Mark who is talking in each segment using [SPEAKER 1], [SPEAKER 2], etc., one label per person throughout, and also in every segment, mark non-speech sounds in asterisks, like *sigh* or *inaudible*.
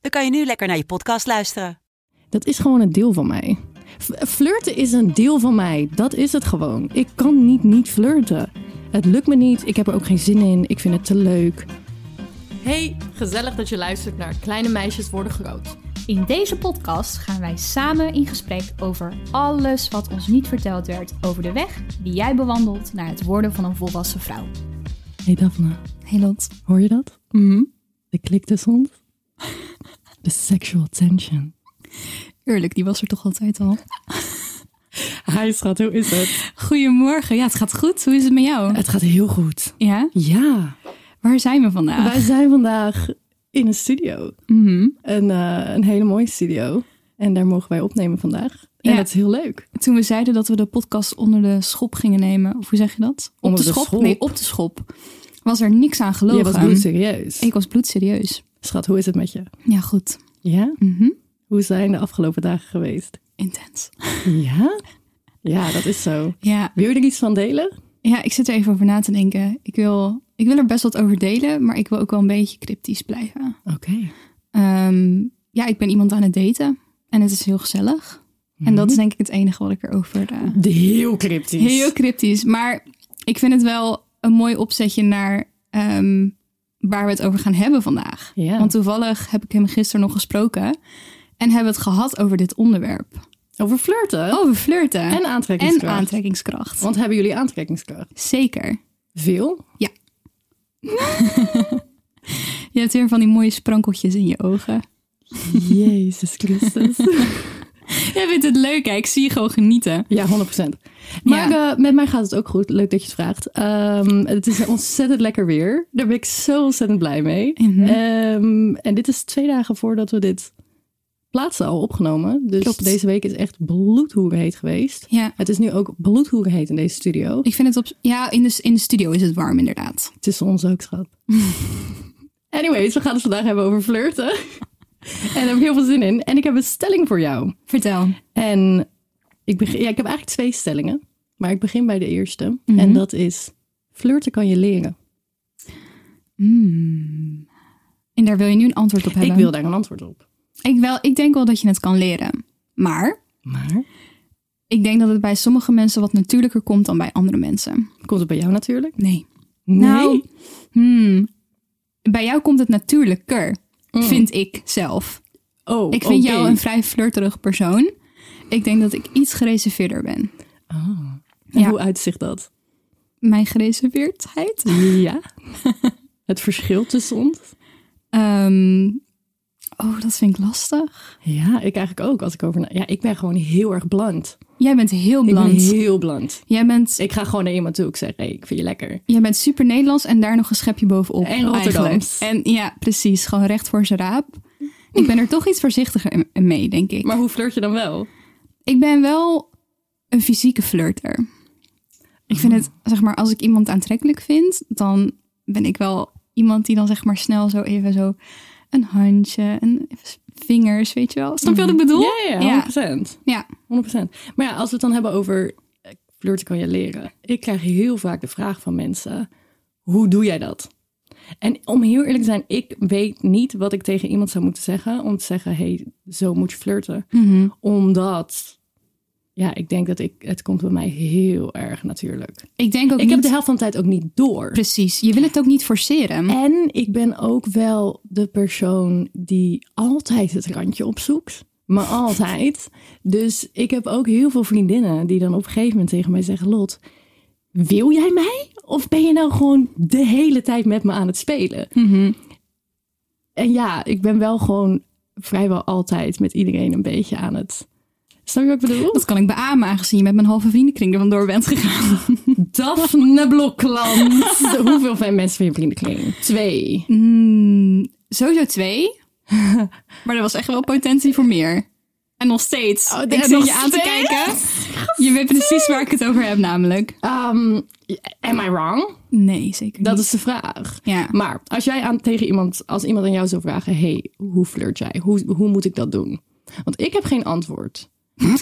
[SPEAKER 1] dan kan je nu lekker naar je podcast luisteren.
[SPEAKER 2] Dat is gewoon een deel van mij. F- Flirten is een deel van mij. Dat is het gewoon. Ik kan niet niet flirten. Het lukt me niet. Ik heb er ook geen zin in. Ik vind het te leuk. Hey, gezellig dat je luistert naar Kleine Meisjes Worden Groot.
[SPEAKER 3] In deze podcast gaan wij samen in gesprek over alles wat ons niet verteld werd over de weg die jij bewandelt naar het worden van een volwassen vrouw.
[SPEAKER 2] Hey Daphne,
[SPEAKER 3] Hey Lot.
[SPEAKER 2] hoor je dat? De klik tussen ons. De sexual tension.
[SPEAKER 3] Eerlijk, die was er toch altijd al.
[SPEAKER 2] Hi schat, hoe is het?
[SPEAKER 3] Goedemorgen. Ja, het gaat goed. Hoe is het met jou?
[SPEAKER 2] Het gaat heel goed.
[SPEAKER 3] Ja,
[SPEAKER 2] Ja,
[SPEAKER 3] waar zijn we vandaag?
[SPEAKER 2] wij zijn vandaag in een studio.
[SPEAKER 3] Mhm.
[SPEAKER 2] Een, eh, een hele mooie studio. En daar mogen wij opnemen vandaag. En
[SPEAKER 3] Ja.
[SPEAKER 2] dat is heel leuk.
[SPEAKER 3] Toen we zeiden dat we de podcast onder de schop gingen nemen, of hoe zeg je dat?
[SPEAKER 2] Onder de
[SPEAKER 3] op de, schop?
[SPEAKER 2] schop?
[SPEAKER 3] Nee, op de schop. Was er niks aan gelogen.
[SPEAKER 2] Je was bloedserieus.
[SPEAKER 3] Ik was bloedserieus.
[SPEAKER 2] Schat, hoe is het met je?
[SPEAKER 3] Ja, goed.
[SPEAKER 2] Ja?
[SPEAKER 3] Mhm.
[SPEAKER 2] Hoe zijn de afgelopen dagen geweest?
[SPEAKER 3] Intens.
[SPEAKER 2] Ja? Ja, dat is zo.
[SPEAKER 3] Ja,
[SPEAKER 2] Wil je er iets van delen?
[SPEAKER 3] Ja, ik zit er even over na te denken. Ik wil, ik wil er best wat over delen, maar ik wil ook wel een beetje cryptisch blijven.
[SPEAKER 2] Oké.
[SPEAKER 3] Ehm, ja, ik ben iemand aan het daten en het is heel gezellig. En dat is denk ik het enige wat ik erover... eh
[SPEAKER 2] Heel cryptisch.
[SPEAKER 3] heel cryptisch, maar ik vind het wel een mooi opzetje naar ehm, waar we het over gaan hebben vandaag.
[SPEAKER 2] Ja.
[SPEAKER 3] Want toevallig heb ik hem gisteren nog gesproken en hebben het gehad over dit onderwerp.
[SPEAKER 2] Over flirten
[SPEAKER 3] Over flirten
[SPEAKER 2] en aantrekkingskracht.
[SPEAKER 3] Oh, En aantrekkingskracht.
[SPEAKER 2] Want hebben jullie aantrekkingskracht?
[SPEAKER 3] Zeker. *laughs*
[SPEAKER 2] Veel?
[SPEAKER 3] Je hebt weer van die mooie sprankeltjes in je ogen.
[SPEAKER 2] Jezus Christus.
[SPEAKER 3] *laughs* Jij vindt het leuk, hè? Ik zie je gewoon genieten.
[SPEAKER 2] ja, 100%. Maar eh, met mij gaat het ook goed. Leuk dat je het vraagt. Ehm, het is ontzettend lekker weer. Daar ben ik zo ontzettend blij mee.
[SPEAKER 3] Mhm.
[SPEAKER 2] Ehm, en dit is twee dagen voordat we dit plaatsen al opgenomen. Dus
[SPEAKER 3] Klopt.
[SPEAKER 2] deze week is echt bloedhoerenheet geweest.
[SPEAKER 3] Ja.
[SPEAKER 2] Het is nu ook bloedhoerenheet in deze studio.
[SPEAKER 3] Ik vind het op... Ja, in de, in de studio is het warm, inderdaad.
[SPEAKER 2] Tussen ons ook,
[SPEAKER 3] *laughs*
[SPEAKER 2] schat. Anyways, we gaan het vandaag hebben over flirten. *laughs* en daar heb ik heel veel zin in. En ik heb een stelling voor jou.
[SPEAKER 3] Vertel.
[SPEAKER 2] En ik, begin, ja, ik heb eigenlijk twee stellingen. Maar ik begin bij de eerste.
[SPEAKER 3] Mhm.
[SPEAKER 2] En dat is, flirten kan je leren.
[SPEAKER 3] En daar wil je nu een antwoord op hebben.
[SPEAKER 2] Ik wil daar een antwoord op.
[SPEAKER 3] Ik, wel, ik denk wel dat je het kan leren. Maar
[SPEAKER 2] Maar?
[SPEAKER 3] ik denk dat het bij sommige mensen wat natuurlijker komt dan bij andere mensen.
[SPEAKER 2] Komt het bij jou natuurlijk?
[SPEAKER 3] Nee.
[SPEAKER 2] Nee.
[SPEAKER 3] Nou, hmm. bij jou komt het natuurlijker, vind ik zelf.
[SPEAKER 2] oh,
[SPEAKER 3] Ik vind
[SPEAKER 2] oké.
[SPEAKER 3] jou een vrij flirterig persoon. Ik denk dat ik iets gereserveerder ben.
[SPEAKER 2] En
[SPEAKER 3] ja.
[SPEAKER 2] Hoe uitzicht dat?
[SPEAKER 3] Mijn gereserveerdheid?
[SPEAKER 2] Ja. *laughs* het verschil tussen ons?
[SPEAKER 3] Ehm, oh, dat vind ik lastig.
[SPEAKER 2] Ja, ik eigenlijk ook. Als ik over na- ja, ik ben gewoon heel erg bland.
[SPEAKER 3] Jij bent heel
[SPEAKER 2] Ik
[SPEAKER 3] bland.
[SPEAKER 2] ben heel bland.
[SPEAKER 3] Jij, bent,
[SPEAKER 2] Ik ga gewoon naar iemand toe. Ik zeg, hey, ik vind je lekker.
[SPEAKER 3] jij bent super Nederlands en daar nog een schepje bovenop.
[SPEAKER 2] En Rotterdams.
[SPEAKER 3] eigenlijk. En ja, precies. Gewoon recht voor zijn raap. Ik ben er toch iets voorzichtiger in- in mee, denk ik.
[SPEAKER 2] Maar hoe flirt je dan wel?
[SPEAKER 3] Ik ben wel een fysieke flirter. Ik vind het, zeg maar, als ik iemand aantrekkelijk vind, dan ben ik wel iemand die dan zeg maar snel zo even zo een handje en even vingers, weet je wel. Snap je
[SPEAKER 2] Mhm.
[SPEAKER 3] wat ik bedoel?
[SPEAKER 2] Ja, ja, 100%.
[SPEAKER 3] ja.
[SPEAKER 2] 100%. Maar ja, als we het dan hebben over eh, flirten kan je leren. Ik krijg heel vaak de vraag van mensen, hoe doe jij dat? En om heel eerlijk te zijn, ik weet niet wat ik tegen iemand zou moeten zeggen. Om te zeggen, hey, zo moet je flirten. Omdat, ja, ik denk dat ik, het komt bij mij heel erg natuurlijk.
[SPEAKER 3] Ik denk ook
[SPEAKER 2] Ik
[SPEAKER 3] niet...
[SPEAKER 2] heb de helft van de tijd ook niet door.
[SPEAKER 3] Precies. Je wil het ook niet forceren.
[SPEAKER 2] En ik ben ook wel de persoon die altijd het randje opzoekt. Maar altijd. Dus ik heb ook heel veel vriendinnen die dan op een gegeven moment tegen mij zeggen: Lot, wil jij mij? Of ben je nou gewoon de hele tijd met me aan het spelen? En ja, ik ben wel gewoon vrijwel altijd met iedereen een beetje aan het. Snap je wat ik bedoel?
[SPEAKER 3] Dat kan ik beamen, aangezien je met mijn halve vriendenkring er vandoor bent gegaan.
[SPEAKER 2] Daphne *laughs* Blokland. Hoeveel mensen van je vrienden kring? Twee.
[SPEAKER 3] Sowieso twee. *laughs* Maar er was echt wel potentie voor meer. En nog steeds.
[SPEAKER 2] Oh,
[SPEAKER 3] ik
[SPEAKER 2] en
[SPEAKER 3] zit
[SPEAKER 2] nog
[SPEAKER 3] je aan te
[SPEAKER 2] steeds? *laughs*
[SPEAKER 3] kijken. Je weet precies waar ik het over heb namelijk.
[SPEAKER 2] Ehm, am I wrong?
[SPEAKER 3] Nee, zeker
[SPEAKER 2] Dat
[SPEAKER 3] niet.
[SPEAKER 2] is de vraag.
[SPEAKER 3] Ja.
[SPEAKER 2] Maar als jij aan, tegen iemand, als iemand aan jou zou vragen: hey, hoe flirt jij? Hoe, hoe moet ik dat doen? Want ik heb geen antwoord.
[SPEAKER 3] Dan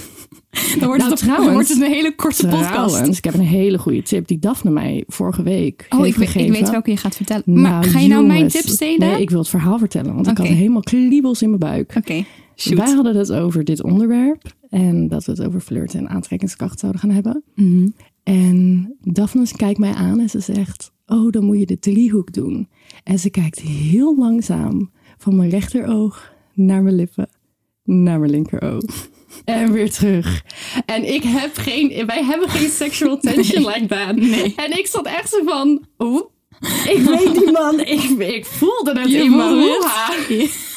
[SPEAKER 3] wordt,
[SPEAKER 2] Nou,
[SPEAKER 3] het, een- dan
[SPEAKER 2] trouwens-
[SPEAKER 3] wordt het een hele korte podcast.
[SPEAKER 2] Trouwens, ik heb een hele goede tip die Daphne mij vorige week
[SPEAKER 3] Oh,
[SPEAKER 2] heeft
[SPEAKER 3] ik, weet- ik
[SPEAKER 2] gegeven.
[SPEAKER 3] weet welke je gaat vertellen. maar ga je nou mijn
[SPEAKER 2] jongens.
[SPEAKER 3] tips delen?
[SPEAKER 2] Nee, ik wil het verhaal vertellen, want
[SPEAKER 3] Oké.
[SPEAKER 2] ik had helemaal kriebels in mijn buik.
[SPEAKER 3] Oké, shoot.
[SPEAKER 2] Wij hadden het over dit onderwerp en dat we het over flirten en aantrekkingskracht zouden gaan hebben.
[SPEAKER 3] Mhm.
[SPEAKER 2] En Daphne kijkt mij aan en ze zegt, oh, dan moet je de driehoek doen. En ze kijkt heel langzaam van mijn rechteroog naar mijn lippen, naar mijn linkeroog.
[SPEAKER 3] *laughs*
[SPEAKER 2] En weer terug. En ik heb geen, wij hebben geen sexual tension like that.
[SPEAKER 3] Nee.
[SPEAKER 2] En ik zat echt zo van, oeh, ik weet niet man, *laughs* ik, ik voelde het
[SPEAKER 3] Je
[SPEAKER 2] in mijn
[SPEAKER 3] voelde
[SPEAKER 2] hoeha. *laughs*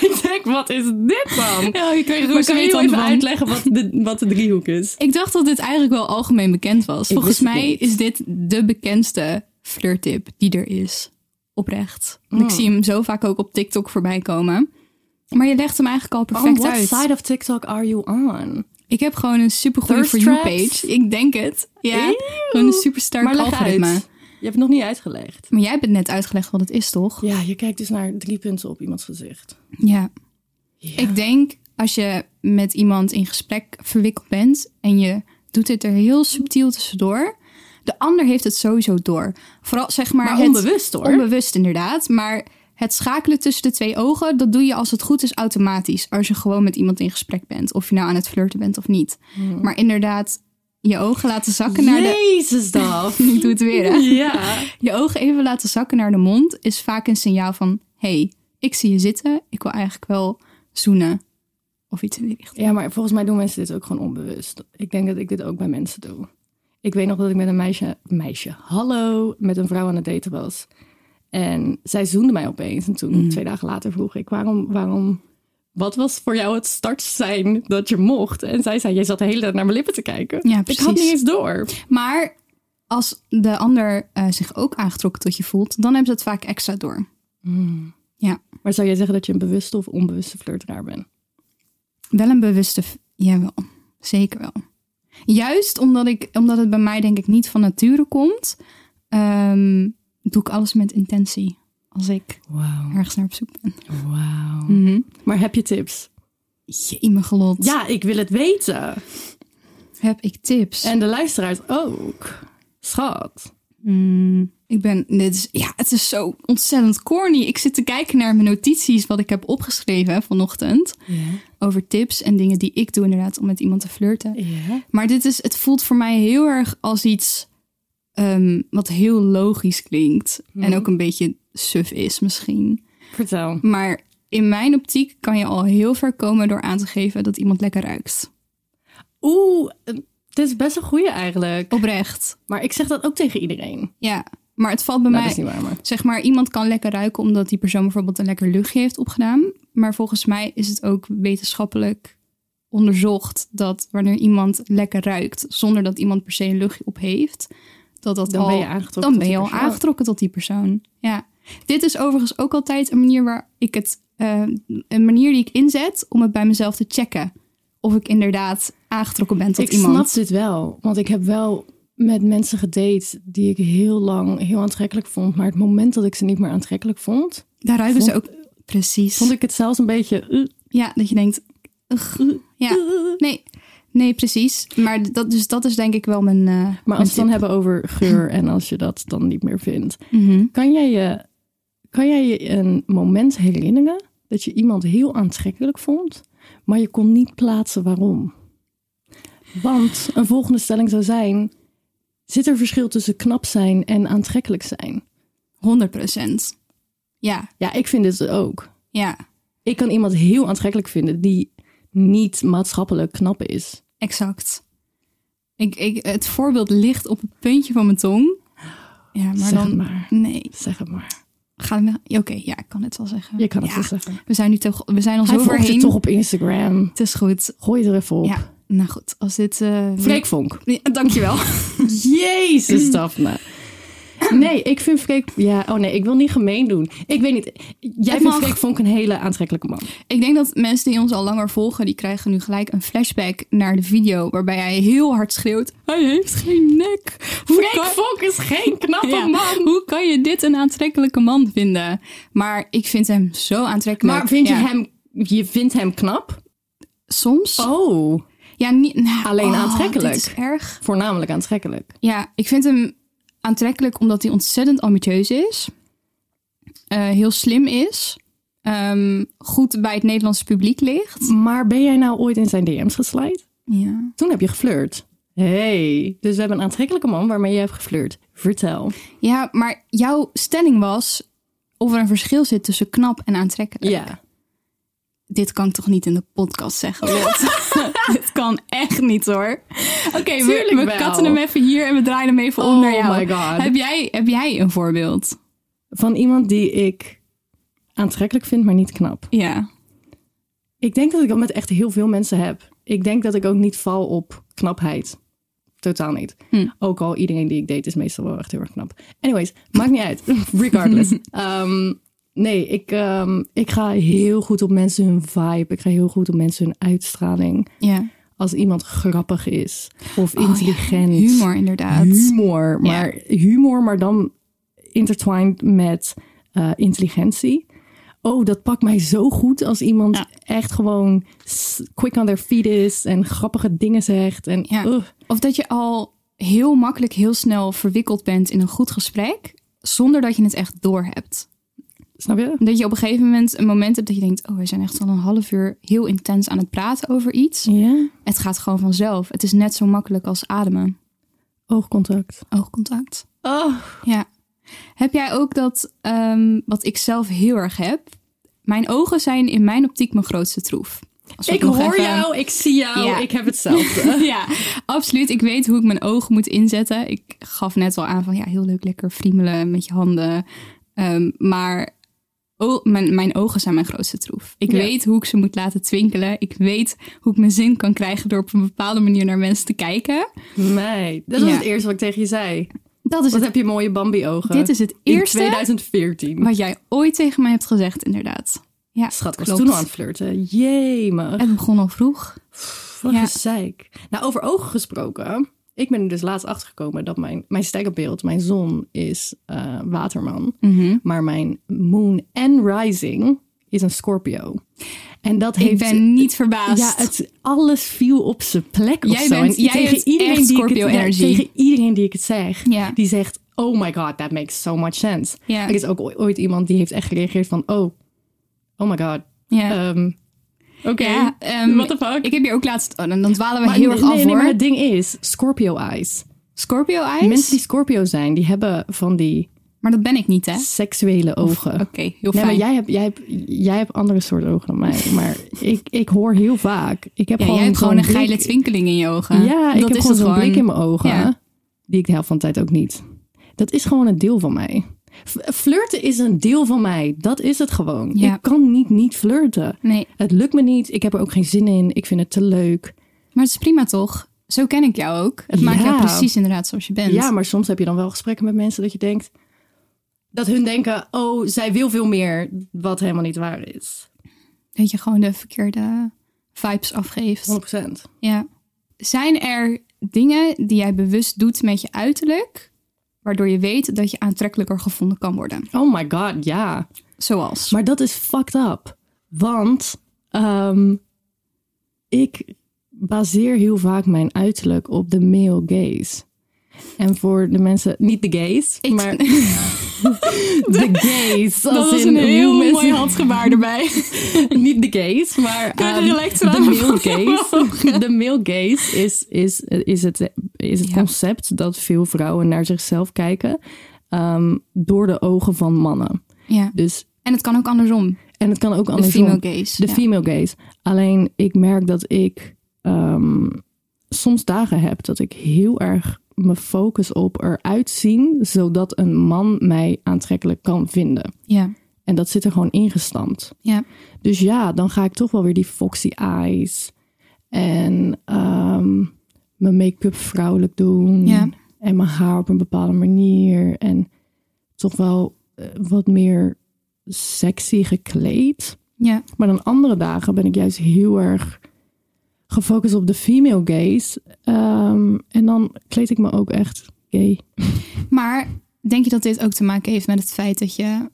[SPEAKER 2] Ik denk, wat is dit dan?
[SPEAKER 3] Ja, je kan
[SPEAKER 2] Maar kan je heel even uitleggen wat de, wat de driehoek is?
[SPEAKER 3] Ik dacht dat dit eigenlijk wel algemeen bekend was. Volgens
[SPEAKER 2] wist het
[SPEAKER 3] mij
[SPEAKER 2] niet.
[SPEAKER 3] is dit de bekendste flirtip die er is. Oprecht. Want
[SPEAKER 2] Oh.
[SPEAKER 3] Ik zie hem zo vaak ook op TikTok voorbij komen. Maar je legt hem eigenlijk al perfect uit.
[SPEAKER 2] of TikTok are you on?
[SPEAKER 3] Ik heb gewoon een supergoeie
[SPEAKER 2] Thirst
[SPEAKER 3] For You
[SPEAKER 2] traps?
[SPEAKER 3] page. Ik denk het. Ja.
[SPEAKER 2] Eeuw.
[SPEAKER 3] Gewoon een supersterk
[SPEAKER 2] Maar leg
[SPEAKER 3] algoritme.
[SPEAKER 2] uit. Je hebt het nog niet uitgelegd.
[SPEAKER 3] Maar jij hebt het net uitgelegd wat het is, toch?
[SPEAKER 2] Ja, je kijkt dus naar drie punten op iemands gezicht.
[SPEAKER 3] Ja. Ik denk als je met iemand in gesprek verwikkeld bent en je doet dit er heel subtiel tussendoor, de ander heeft het sowieso door. Vooral zeg maar,
[SPEAKER 2] Maar
[SPEAKER 3] het-
[SPEAKER 2] onbewust, hoor.
[SPEAKER 3] Onbewust inderdaad, maar het schakelen tussen de twee ogen, dat doe je als het goed is automatisch als je gewoon met iemand in gesprek bent, of je nou aan het flirten bent of niet.
[SPEAKER 2] Hmm.
[SPEAKER 3] Maar inderdaad je ogen laten zakken naar de
[SPEAKER 2] Jezus, Daf.
[SPEAKER 3] *laughs* ik doe het weer. Hè?
[SPEAKER 2] *laughs* ja.
[SPEAKER 3] Je ogen even laten zakken naar de mond is vaak een signaal van: hey, ik zie je zitten, ik wil eigenlijk wel zoenen. Of iets in die richting.
[SPEAKER 2] Ja, maar volgens mij doen mensen dit ook gewoon onbewust. Ik denk dat ik dit ook bij mensen doe. Ik weet nog dat ik met een meisje, meisje, hallo, met een vrouw aan het daten was. En zij zoende mij opeens. En toen, twee dagen later, vroeg ik, waarom, waarom, wat was voor jou het startsein dat je mocht? En zij zei, jij zat de hele tijd naar mijn lippen te kijken.
[SPEAKER 3] Ja,
[SPEAKER 2] Ik had
[SPEAKER 3] precies.
[SPEAKER 2] niet eens door.
[SPEAKER 3] Maar als de ander eh, zich ook aangetrokken tot je voelt, dan hebben ze het vaak extra door. Ja,
[SPEAKER 2] Maar zou jij zeggen dat je een bewuste of onbewuste flirtraar bent?
[SPEAKER 3] wel een bewuste. v- Jawel, zeker wel. Juist omdat, ik, omdat het bij mij, denk ik, niet van nature komt, ehm, doe ik alles met intentie. Als ik
[SPEAKER 2] Wauw,
[SPEAKER 3] ergens naar op zoek ben. Mhm.
[SPEAKER 2] wauw. Maar heb je tips?
[SPEAKER 3] Jee, mijn gelot.
[SPEAKER 2] Ja, ik wil het weten.
[SPEAKER 3] Heb ik tips?
[SPEAKER 2] En de luisteraars ook. Schat.
[SPEAKER 3] Ik ben, dit is, ja, het is zo ontzettend corny. Ik zit te kijken naar mijn notities, wat ik heb opgeschreven vanochtend. Over tips en dingen die ik doe inderdaad om met iemand te flirten.
[SPEAKER 2] Ja.
[SPEAKER 3] Maar dit is, het voelt voor mij heel erg als iets ehm, wat heel logisch klinkt. En ook een beetje suf is misschien.
[SPEAKER 2] Vertel.
[SPEAKER 3] Maar in mijn optiek kan je al heel ver komen door aan te geven dat iemand lekker ruikt.
[SPEAKER 2] Oeh, het is best een goeie eigenlijk.
[SPEAKER 3] Oprecht.
[SPEAKER 2] Maar ik zeg dat ook tegen iedereen. Nou,
[SPEAKER 3] Ja, maar het valt bij mij...
[SPEAKER 2] dat is niet waar, maar...
[SPEAKER 3] zeg maar, iemand kan lekker ruiken omdat die persoon bijvoorbeeld een lekker luchtje heeft opgedaan. Maar volgens mij is het ook wetenschappelijk onderzocht dat wanneer iemand lekker ruikt, zonder dat iemand per se een luchtje op heeft, dat dat
[SPEAKER 2] Dan
[SPEAKER 3] al,
[SPEAKER 2] ben je aangetrokken
[SPEAKER 3] dan
[SPEAKER 2] tot
[SPEAKER 3] ben
[SPEAKER 2] die
[SPEAKER 3] je al
[SPEAKER 2] persoon.
[SPEAKER 3] aangetrokken tot die persoon. Ja. Dit is overigens ook altijd een manier waar ik het, eh, een manier die ik inzet om het bij mezelf te checken. Of ik inderdaad aangetrokken ben tot
[SPEAKER 2] ik
[SPEAKER 3] iemand.
[SPEAKER 2] snap dit wel. Want ik heb wel met mensen gedate die ik heel lang heel aantrekkelijk vond. Maar het moment dat ik ze niet meer aantrekkelijk vond,
[SPEAKER 3] Daar ruiken ze ook precies.
[SPEAKER 2] vond ik het zelfs een beetje... eh,
[SPEAKER 3] Ja, dat je denkt. ugh, ja, nee, nee, precies. Maar dat, dus dat is denk ik wel mijn. eh,
[SPEAKER 2] Maar
[SPEAKER 3] mijn
[SPEAKER 2] als we het dan
[SPEAKER 3] tip.
[SPEAKER 2] hebben over geur
[SPEAKER 3] Mhm.
[SPEAKER 2] en als je dat dan niet meer vindt. Kan, jij je, kan jij je een moment herinneren dat je iemand heel aantrekkelijk vond, maar je kon niet plaatsen waarom? Want een volgende stelling zou zijn, zit er verschil tussen knap zijn en aantrekkelijk zijn?
[SPEAKER 3] 100%. Ja,
[SPEAKER 2] Ja, ik vind dit ook.
[SPEAKER 3] ja,
[SPEAKER 2] Ik kan iemand heel aantrekkelijk vinden die niet maatschappelijk knap is.
[SPEAKER 3] exact. Ik, ik, het voorbeeld ligt op het puntje van mijn tong. Ja, maar
[SPEAKER 2] Zeg
[SPEAKER 3] dan.
[SPEAKER 2] het maar.
[SPEAKER 3] Nee,
[SPEAKER 2] Zeg het maar.
[SPEAKER 3] ga me. Oké, ja, ik kan het wel zeggen.
[SPEAKER 2] Je kan het
[SPEAKER 3] Ja,
[SPEAKER 2] wel zeggen.
[SPEAKER 3] We zijn nu toch, we zijn al
[SPEAKER 2] Hij
[SPEAKER 3] zo
[SPEAKER 2] volgt je
[SPEAKER 3] overheen.
[SPEAKER 2] toch op Instagram.
[SPEAKER 3] Het is goed.
[SPEAKER 2] Gooi het er even op.
[SPEAKER 3] Ja, nou goed, als dit. eh
[SPEAKER 2] Freek Vonk. Mm.
[SPEAKER 3] Ja, dankjewel.
[SPEAKER 2] Jezus, Daphne. Nee, ik vind Freek... Ja, oh nee, ik wil niet gemeen doen. Ik weet niet. Jij
[SPEAKER 3] Het
[SPEAKER 2] vindt
[SPEAKER 3] mag.
[SPEAKER 2] Freek Vonk een hele aantrekkelijke man.
[SPEAKER 3] Ik denk dat mensen die ons al langer volgen, die krijgen nu gelijk een flashback naar de video waarbij hij heel hard schreeuwt. Hij heeft geen nek. Hoe
[SPEAKER 2] Freek
[SPEAKER 3] kan-
[SPEAKER 2] Vonk is geen knappe
[SPEAKER 3] Ja,
[SPEAKER 2] man.
[SPEAKER 3] Hoe kan je dit een aantrekkelijke man vinden? Maar ik vind hem zo aantrekkelijk.
[SPEAKER 2] Maar vind je
[SPEAKER 3] Ja,
[SPEAKER 2] hem... Je vindt hem knap?
[SPEAKER 3] soms?
[SPEAKER 2] Oh,
[SPEAKER 3] Ja, niet, nou,
[SPEAKER 2] Alleen
[SPEAKER 3] oh,
[SPEAKER 2] aantrekkelijk.
[SPEAKER 3] Dit is erg.
[SPEAKER 2] voornamelijk aantrekkelijk.
[SPEAKER 3] Ja, ik vind hem aantrekkelijk omdat hij ontzettend ambitieus is. eh, heel slim is. ehm, goed bij het Nederlandse publiek ligt.
[SPEAKER 2] Maar ben jij nou ooit in zijn DM's geslaaid?
[SPEAKER 3] Ja.
[SPEAKER 2] Toen heb je geflirt. hey, dus we hebben een aantrekkelijke man waarmee je hebt geflirt. Vertel.
[SPEAKER 3] ja, maar jouw stelling was of er een verschil zit tussen knap en aantrekkelijk.
[SPEAKER 2] Ja.
[SPEAKER 3] Dit kan ik toch niet in de podcast
[SPEAKER 2] *laughs*
[SPEAKER 3] zeggen, Lot? *laughs* Dit kan echt niet, hoor. Oké, we,
[SPEAKER 2] Tuurlijk
[SPEAKER 3] we
[SPEAKER 2] wel.
[SPEAKER 3] katten hem even hier en we draaien hem even om
[SPEAKER 2] Oh
[SPEAKER 3] naar jou.
[SPEAKER 2] my God.
[SPEAKER 3] Heb jij, heb jij een voorbeeld?
[SPEAKER 2] Van iemand die ik aantrekkelijk vind, maar niet knap.
[SPEAKER 3] Ja.
[SPEAKER 2] Ik denk dat ik dat met echt heel veel mensen heb. Ik denk dat ik ook niet val op knapheid. Totaal niet. Ook al iedereen die ik date is meestal wel echt heel erg knap. Anyways, maakt niet uit. Regardless. Ehm, nee, ik, ehm, ik ga heel goed op mensen hun vibe. Ik ga heel goed op mensen hun uitstraling.
[SPEAKER 3] Ja.
[SPEAKER 2] Als iemand grappig is of intelligent.
[SPEAKER 3] Humor, inderdaad.
[SPEAKER 2] Humor, maar humor, maar dan intertwined met eh, intelligentie. Oh, dat pakt mij zo goed als iemand
[SPEAKER 3] Ja.
[SPEAKER 2] echt gewoon s- quick on their feet is en grappige dingen zegt. En,
[SPEAKER 3] Ja.
[SPEAKER 2] ugh.
[SPEAKER 3] Of dat je al heel makkelijk, heel snel verwikkeld bent in een goed gesprek, zonder dat je het echt doorhebt.
[SPEAKER 2] snap je?
[SPEAKER 3] Dat je op een gegeven moment een moment hebt dat je denkt, oh, we zijn echt al een half uur heel intens aan het praten over iets.
[SPEAKER 2] Ja.
[SPEAKER 3] Het gaat gewoon vanzelf. Het is net zo makkelijk als ademen.
[SPEAKER 2] Oogcontact.
[SPEAKER 3] Oogcontact.
[SPEAKER 2] Oh.
[SPEAKER 3] Ja. Heb jij ook dat, ehm, wat ik zelf heel erg heb? Mijn ogen zijn in mijn optiek mijn grootste troef. Als we
[SPEAKER 2] Ik
[SPEAKER 3] het nog
[SPEAKER 2] hoor
[SPEAKER 3] even-
[SPEAKER 2] jou, ik zie jou,
[SPEAKER 3] Ja.
[SPEAKER 2] ik heb
[SPEAKER 3] *laughs*
[SPEAKER 2] hetzelfde.
[SPEAKER 3] ja, absoluut. Ik weet hoe ik mijn ogen moet inzetten. Ik gaf net al aan van ja, heel leuk lekker friemelen met je handen. Ehm, maar o- mijn, mijn ogen zijn mijn grootste troef. Ik
[SPEAKER 2] Ja.
[SPEAKER 3] weet hoe ik ze moet laten twinkelen. Ik weet hoe ik mijn zin kan krijgen door op een bepaalde manier naar mensen te kijken.
[SPEAKER 2] Nee, dat was
[SPEAKER 3] Ja.
[SPEAKER 2] het eerste wat ik tegen je zei.
[SPEAKER 3] Dat is
[SPEAKER 2] Wat
[SPEAKER 3] het,
[SPEAKER 2] heb je mooie Bambi-ogen.
[SPEAKER 3] dit is het
[SPEAKER 2] In
[SPEAKER 3] eerste
[SPEAKER 2] 2014.
[SPEAKER 3] wat jij ooit tegen mij hebt gezegd, inderdaad. Ja,
[SPEAKER 2] Schat, ik was
[SPEAKER 3] klopt.
[SPEAKER 2] toen al aan het flirten. Jemig.
[SPEAKER 3] Het begon al vroeg.
[SPEAKER 2] Wat
[SPEAKER 3] Ja.
[SPEAKER 2] een zeik. Nou, over ogen gesproken. Ik ben er dus laatst achtergekomen dat mijn, mijn sterrenbeeld, mijn zon, is eh, waterman.
[SPEAKER 3] Mhm.
[SPEAKER 2] Maar mijn moon en rising is een Scorpio. En dat
[SPEAKER 3] Ik
[SPEAKER 2] heeft...
[SPEAKER 3] ben niet verbaasd.
[SPEAKER 2] Ja, het, alles viel op zijn plek of
[SPEAKER 3] Jij
[SPEAKER 2] zo.
[SPEAKER 3] bent-
[SPEAKER 2] En
[SPEAKER 3] jij hebt echt
[SPEAKER 2] die ik het-
[SPEAKER 3] Scorpio-energie.
[SPEAKER 2] tegen iedereen die ik het zeg,
[SPEAKER 3] Ja.
[SPEAKER 2] die zegt... Oh my god, that makes so much sense.
[SPEAKER 3] Ja.
[SPEAKER 2] Er is ook ooi- ooit iemand die heeft echt gereageerd van... Oh, oh my god.
[SPEAKER 3] Ja.
[SPEAKER 2] ehm, Oké,
[SPEAKER 3] Ja, ehm,
[SPEAKER 2] what the fuck?
[SPEAKER 3] Ik heb hier ook laatst... Oh, dan, dan dwalen we
[SPEAKER 2] Maar
[SPEAKER 3] heel
[SPEAKER 2] nee,
[SPEAKER 3] erg af,
[SPEAKER 2] nee,
[SPEAKER 3] hoor.
[SPEAKER 2] maar het ding is, Scorpio eyes.
[SPEAKER 3] Scorpio eyes?
[SPEAKER 2] Mensen die Scorpio zijn, die hebben van die
[SPEAKER 3] Maar dat ben ik niet, hè? Oké,
[SPEAKER 2] seksuele ogen.
[SPEAKER 3] heel
[SPEAKER 2] Nee,
[SPEAKER 3] fijn.
[SPEAKER 2] maar jij hebt, jij, hebt, jij hebt andere soort ogen dan mij.
[SPEAKER 3] *laughs*
[SPEAKER 2] Maar ik, ik hoor heel vaak. Ik heb
[SPEAKER 3] Ja,
[SPEAKER 2] gewoon
[SPEAKER 3] jij hebt gewoon een
[SPEAKER 2] zo'n
[SPEAKER 3] geile
[SPEAKER 2] blik-
[SPEAKER 3] twinkeling in je ogen.
[SPEAKER 2] Ja, ik
[SPEAKER 3] dat
[SPEAKER 2] heb
[SPEAKER 3] is
[SPEAKER 2] gewoon
[SPEAKER 3] het
[SPEAKER 2] zo'n
[SPEAKER 3] gewoon.
[SPEAKER 2] blik in mijn ogen.
[SPEAKER 3] Ja.
[SPEAKER 2] Die ik de helft van de tijd ook niet. Dat is gewoon een deel van mij. F- Flirten is een deel van mij. Dat is het gewoon.
[SPEAKER 3] Ja.
[SPEAKER 2] Ik kan niet niet flirten.
[SPEAKER 3] Nee,
[SPEAKER 2] Het lukt me niet. Ik heb er ook geen zin in. Ik vind het te leuk.
[SPEAKER 3] maar het is prima toch? Zo ken ik jou ook. Het maakt
[SPEAKER 2] Ja.
[SPEAKER 3] jou precies inderdaad zoals je bent.
[SPEAKER 2] Ja, maar soms heb je dan wel gesprekken met mensen dat je denkt dat hun denken: oh, zij wil veel meer, wat helemaal niet waar is.
[SPEAKER 3] Dat je gewoon de verkeerde vibes afgeeft.
[SPEAKER 2] 100%.
[SPEAKER 3] Ja. Zijn er dingen die jij bewust doet met je uiterlijk... waardoor je weet dat je aantrekkelijker gevonden kan worden?
[SPEAKER 2] Oh my god, ja.
[SPEAKER 3] Zoals?
[SPEAKER 2] Maar dat is fucked up. Want ehm, ik baseer heel vaak mijn uiterlijk op de male gaze. En voor de mensen, niet de gays,
[SPEAKER 3] Ik- *laughs*
[SPEAKER 2] maar de *laughs* gays.
[SPEAKER 3] dat
[SPEAKER 2] als
[SPEAKER 3] was
[SPEAKER 2] in
[SPEAKER 3] een
[SPEAKER 2] hoe
[SPEAKER 3] heel
[SPEAKER 2] mensen-
[SPEAKER 3] mooi handgebaar
[SPEAKER 2] *laughs*
[SPEAKER 3] erbij.
[SPEAKER 2] niet de gays, maar
[SPEAKER 3] Kan je
[SPEAKER 2] ehm,
[SPEAKER 3] er gelijk
[SPEAKER 2] de
[SPEAKER 3] twaalf
[SPEAKER 2] male
[SPEAKER 3] van
[SPEAKER 2] gaze. *laughs* De male gaze is, is, is het, is het
[SPEAKER 3] Ja.
[SPEAKER 2] concept dat veel vrouwen naar zichzelf kijken ehm, door de ogen van mannen.
[SPEAKER 3] Ja.
[SPEAKER 2] Dus,
[SPEAKER 3] En het kan ook andersom.
[SPEAKER 2] en het kan ook
[SPEAKER 3] De
[SPEAKER 2] andersom.
[SPEAKER 3] female gaze.
[SPEAKER 2] De
[SPEAKER 3] ja.
[SPEAKER 2] female gaze. Alleen ik merk dat ik ehm, soms dagen heb dat ik heel erg me focus op eruit zien, zodat een man mij aantrekkelijk kan vinden.
[SPEAKER 3] ja.
[SPEAKER 2] En dat zit er gewoon ingestampt.
[SPEAKER 3] Ja.
[SPEAKER 2] Dus ja, dan ga ik toch wel weer die foxy eyes. En ehm, mijn make-up vrouwelijk doen.
[SPEAKER 3] Ja.
[SPEAKER 2] en mijn haar op een bepaalde manier en toch wel eh, wat meer sexy gekleed.
[SPEAKER 3] Ja.
[SPEAKER 2] Maar dan andere dagen ben ik juist heel erg gefocust op de female gaze. Ehm, en dan kleed ik me ook echt gay.
[SPEAKER 3] Maar denk je dat dit ook te maken heeft met het feit dat je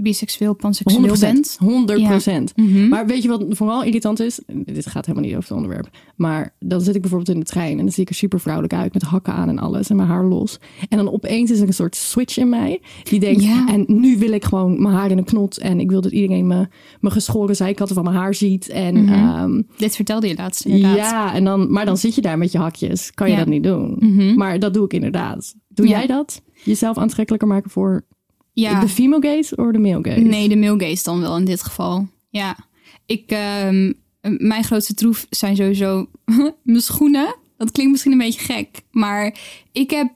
[SPEAKER 3] biseksueel, panseksueel
[SPEAKER 2] 100%.
[SPEAKER 3] bent?
[SPEAKER 2] 100%.
[SPEAKER 3] Mhm.
[SPEAKER 2] Maar weet je wat vooral irritant is? Dit gaat helemaal niet over het onderwerp. Maar dan zit ik bijvoorbeeld in de trein en dan zie ik er super vrouwelijk uit met hakken aan en alles en mijn haar los. En dan opeens is er een soort switch in mij die denkt,
[SPEAKER 3] Ja.
[SPEAKER 2] en nu wil ik gewoon mijn haar in een knot en ik wil dat iedereen me, mijn geschoren zijkanten van mijn haar ziet. En ehm,
[SPEAKER 3] Dit vertelde je laatst Mhm. inderdaad.
[SPEAKER 2] ja, en dan, maar dan zit je daar met je hakjes. Kan je
[SPEAKER 3] Ja. Mhm.
[SPEAKER 2] dat niet doen. Maar dat doe ik inderdaad. Doe
[SPEAKER 3] Ja.
[SPEAKER 2] jij dat? Jezelf aantrekkelijker maken voor
[SPEAKER 3] Ja.
[SPEAKER 2] de female gaze of de male gaze?
[SPEAKER 3] Nee, de male gaze dan wel in dit geval. Ja. Ik, ehm, mijn grootste troef zijn sowieso *laughs* mijn schoenen. Dat klinkt misschien een beetje gek, maar ik heb...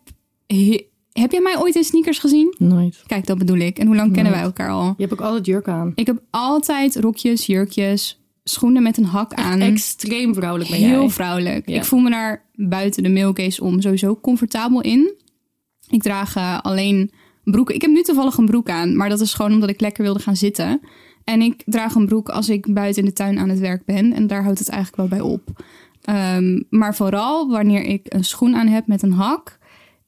[SPEAKER 3] he- heb jij mij ooit in sneakers gezien?
[SPEAKER 2] Nooit.
[SPEAKER 3] Kijk, dat bedoel ik. En hoe lang kennen wij elkaar al?
[SPEAKER 2] Je hebt ook altijd jurk aan.
[SPEAKER 3] Ik heb altijd rokjes, jurkjes, schoenen met een hak aan.
[SPEAKER 2] Extreem vrouwelijk ben
[SPEAKER 3] Heel
[SPEAKER 2] jij.
[SPEAKER 3] vrouwelijk.
[SPEAKER 2] Ja.
[SPEAKER 3] Ik voel me daar buiten de mailcase om sowieso comfortabel in. Ik draag eh, alleen broeken. Ik heb nu toevallig een broek aan, maar dat is gewoon omdat ik lekker wilde gaan zitten. En ik draag een broek als ik buiten in de tuin aan het werk ben. En daar houdt het eigenlijk wel bij op. Ehm, maar vooral wanneer ik een schoen aan heb met een hak.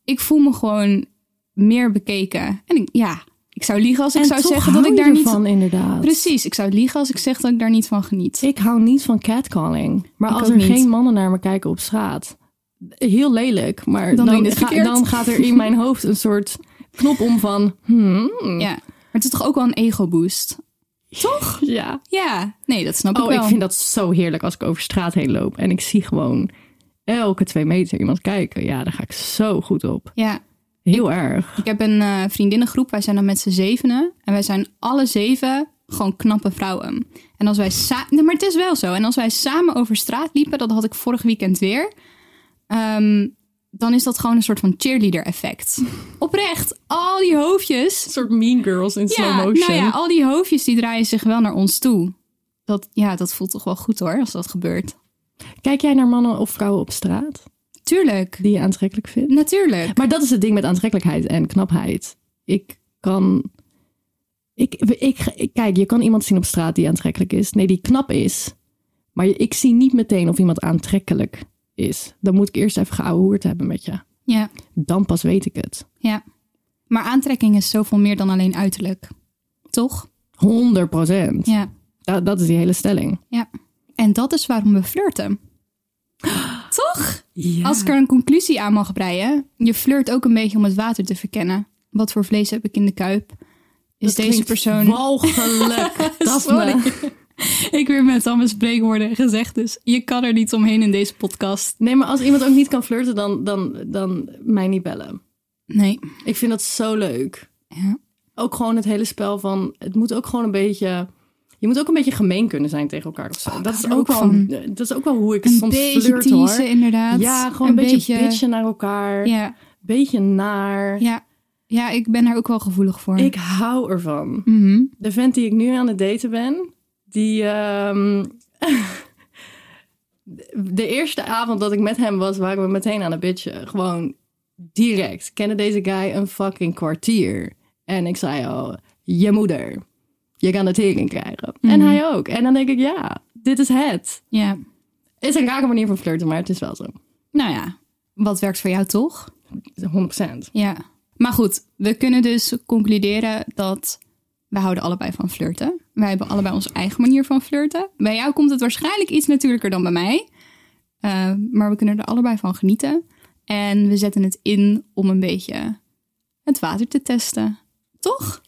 [SPEAKER 3] Ik voel me gewoon meer bekeken. En ik, ja, ik zou liegen als ik
[SPEAKER 2] En
[SPEAKER 3] zou
[SPEAKER 2] toch
[SPEAKER 3] zeggen dat
[SPEAKER 2] hou
[SPEAKER 3] ik
[SPEAKER 2] je
[SPEAKER 3] daar niet...
[SPEAKER 2] ervan, inderdaad.
[SPEAKER 3] Precies, ik zou liegen als ik zeg dat ik daar niet van geniet.
[SPEAKER 2] Ik hou niet van catcalling. Maar
[SPEAKER 3] Ik
[SPEAKER 2] als
[SPEAKER 3] ook
[SPEAKER 2] er
[SPEAKER 3] niet.
[SPEAKER 2] geen mannen naar me kijken op straat, heel lelijk. Maar
[SPEAKER 3] Dan
[SPEAKER 2] dan,
[SPEAKER 3] doe je het
[SPEAKER 2] ga-
[SPEAKER 3] verkeerd.
[SPEAKER 2] dan gaat er in mijn hoofd een soort knop om van, *laughs* hmm,
[SPEAKER 3] Ja, maar het is toch ook wel een ego-boost? Toch?
[SPEAKER 2] ja.
[SPEAKER 3] Ja, nee, dat snap ik
[SPEAKER 2] Oh,
[SPEAKER 3] wel.
[SPEAKER 2] ik vind dat zo heerlijk als ik over straat heen loop en ik zie gewoon elke twee meter iemand kijken. Ja, daar ga ik zo goed op.
[SPEAKER 3] Ja,
[SPEAKER 2] Heel erg.
[SPEAKER 3] ik heb een eh, vriendinnengroep, wij zijn dan met z'n zevenen. En wij zijn alle zeven gewoon knappe vrouwen. En als wij samen... Nee, maar het is wel zo. En als wij samen over straat liepen, dat had ik vorig weekend weer... ehm, dan is dat gewoon een soort van cheerleader effect. Oprecht, al die hoofdjes...
[SPEAKER 2] Een soort mean girls in
[SPEAKER 3] Ja, nou ja, al die hoofdjes die draaien zich wel naar ons toe. Dat, ja, dat voelt toch wel goed hoor, als dat gebeurt.
[SPEAKER 2] Kijk jij naar mannen of vrouwen op straat
[SPEAKER 3] Tuurlijk,
[SPEAKER 2] die je aantrekkelijk vindt?
[SPEAKER 3] natuurlijk.
[SPEAKER 2] Maar dat is het ding met aantrekkelijkheid en knapheid. Ik kan. Ik, ik, ik- kijk, je kan iemand zien op straat die aantrekkelijk is. Nee, die knap is. Maar ik zie niet meteen of iemand aantrekkelijk is. Dan moet ik eerst even geouwehoerd hebben met je.
[SPEAKER 3] Ja,
[SPEAKER 2] Dan pas weet ik het.
[SPEAKER 3] ja. Maar aantrekking is zoveel meer dan alleen uiterlijk. Toch?
[SPEAKER 2] 100 procent.
[SPEAKER 3] Ja.
[SPEAKER 2] Dat, dat is die hele stelling.
[SPEAKER 3] ja. En dat is waarom we
[SPEAKER 2] *gasps*
[SPEAKER 3] flirten. Toch?
[SPEAKER 2] Ja.
[SPEAKER 3] Als ik er een conclusie aan mag breien. Je flirt ook een beetje om het water te verkennen. Wat voor vlees heb ik in de kuip? Is deze persoon... *laughs*
[SPEAKER 2] Walgelijk.
[SPEAKER 3] Sorry. *laughs* Ik weer met allemaal spreekwoorden gezegd. Dus je kan er niet omheen in deze podcast.
[SPEAKER 2] Nee, maar als iemand ook niet kan flirten, dan, dan, dan mij niet bellen.
[SPEAKER 3] Nee.
[SPEAKER 2] Ik vind dat zo leuk.
[SPEAKER 3] Ja.
[SPEAKER 2] ook gewoon het hele spel van. Het moet ook gewoon een beetje. Je moet ook een beetje gemeen kunnen zijn tegen elkaar of zo. dat, is
[SPEAKER 3] Oh, hou er
[SPEAKER 2] ook wel,
[SPEAKER 3] ook van.
[SPEAKER 2] dat is ook wel hoe ik
[SPEAKER 3] Een
[SPEAKER 2] soms
[SPEAKER 3] beetje
[SPEAKER 2] flirt
[SPEAKER 3] teasen,
[SPEAKER 2] hoor.
[SPEAKER 3] inderdaad.
[SPEAKER 2] Ja, gewoon een, beetje, bitchen naar elkaar.
[SPEAKER 3] Ja,
[SPEAKER 2] Beetje naar.
[SPEAKER 3] ja. ja, ik ben daar ook wel gevoelig voor.
[SPEAKER 2] Ik hou ervan.
[SPEAKER 3] Mhm.
[SPEAKER 2] De vent die ik nu aan het daten ben, die. ehm, *laughs* de eerste avond dat ik met hem was, waren we meteen aan het bitchen. Gewoon direct. Kende deze guy een fucking kwartier. En ik zei al, je moeder. Je kan het tering krijgen. En hij ook. En dan denk ik, ja, dit is het.
[SPEAKER 3] Ja.
[SPEAKER 2] Het is een rare manier van flirten, maar het is wel zo.
[SPEAKER 3] Nou ja, wat werkt voor jou toch?
[SPEAKER 2] 100%.
[SPEAKER 3] Ja. Maar goed, we kunnen dus concluderen dat we houden allebei van flirten. Wij hebben allebei onze eigen manier van flirten. Bij jou komt het waarschijnlijk iets natuurlijker dan bij mij. Eh, maar we kunnen er allebei van genieten. En we zetten het in om een beetje het water te testen. Toch?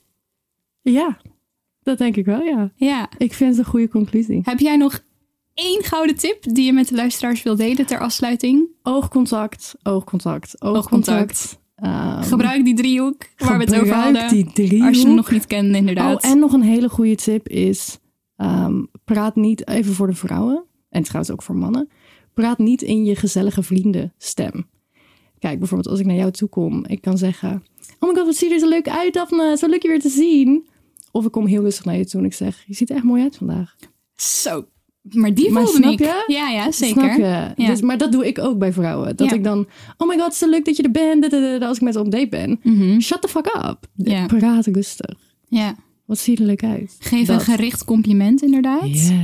[SPEAKER 2] Ja, dat denk ik wel, ja.
[SPEAKER 3] Ja.
[SPEAKER 2] Ik vind het een goede conclusie.
[SPEAKER 3] Heb jij nog één gouden tip die je met de luisteraars wil delen ter afsluiting?
[SPEAKER 2] Oogcontact, oogcontact, oogcontact.
[SPEAKER 3] Oogcontact.
[SPEAKER 2] Ehm,
[SPEAKER 3] Gebruik die driehoek waar we het over
[SPEAKER 2] Gebruik
[SPEAKER 3] hadden.
[SPEAKER 2] die driehoek.
[SPEAKER 3] Als je hem nog niet kende, inderdaad.
[SPEAKER 2] Oh, en nog een hele goede tip is: ehm, praat niet, even voor de vrouwen en trouwens ook voor mannen, praat niet in je gezellige vriendenstem. Kijk, bijvoorbeeld als ik naar jou toe kom, ik kan zeggen: Oh my god, wat zie je er zo leuk uit, Daphne? Zo leuk je weer te zien. Of ik kom heel rustig naar je toe en ik zeg: Je ziet er echt mooi uit vandaag.
[SPEAKER 3] Zo. Maar die
[SPEAKER 2] Maar
[SPEAKER 3] voelde
[SPEAKER 2] snap
[SPEAKER 3] ik.
[SPEAKER 2] je?
[SPEAKER 3] Ja, ja, zeker.
[SPEAKER 2] Snap je?
[SPEAKER 3] Ja.
[SPEAKER 2] Dus, maar dat doe ik ook bij vrouwen. Dat
[SPEAKER 3] Ja.
[SPEAKER 2] ik dan, oh my god, zo leuk dat je er bent. dadadada, Als ik met ze op date ben.
[SPEAKER 3] Mhm.
[SPEAKER 2] Shut the fuck up.
[SPEAKER 3] Ja.
[SPEAKER 2] Praat rustig.
[SPEAKER 3] ja.
[SPEAKER 2] Wat ziet er leuk uit.
[SPEAKER 3] Geef
[SPEAKER 2] Dat.
[SPEAKER 3] een gericht compliment inderdaad.
[SPEAKER 2] Yes. Oh.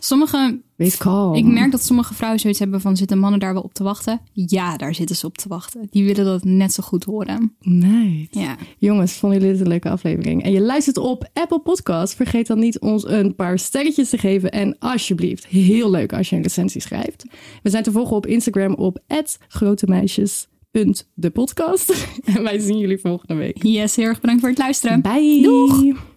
[SPEAKER 3] Sommige,
[SPEAKER 2] Wees kalm.
[SPEAKER 3] ik merk dat sommige vrouwen zoiets hebben van zitten mannen daar wel op te wachten? Ja, daar zitten ze op te wachten. Die willen dat net zo goed horen.
[SPEAKER 2] Nice.
[SPEAKER 3] Ja.
[SPEAKER 2] Jongens, vonden jullie dit een leuke aflevering? En je luistert op Apple Podcast. Vergeet dan niet ons een paar sterretjes te geven. En alsjeblieft, heel leuk als je een recensie schrijft. We zijn te volgen op Instagram op grotemeisjes.depodcast. *laughs* En wij zien jullie volgende week.
[SPEAKER 3] Yes, heel erg bedankt voor het luisteren.
[SPEAKER 2] Bye!
[SPEAKER 3] Doeg!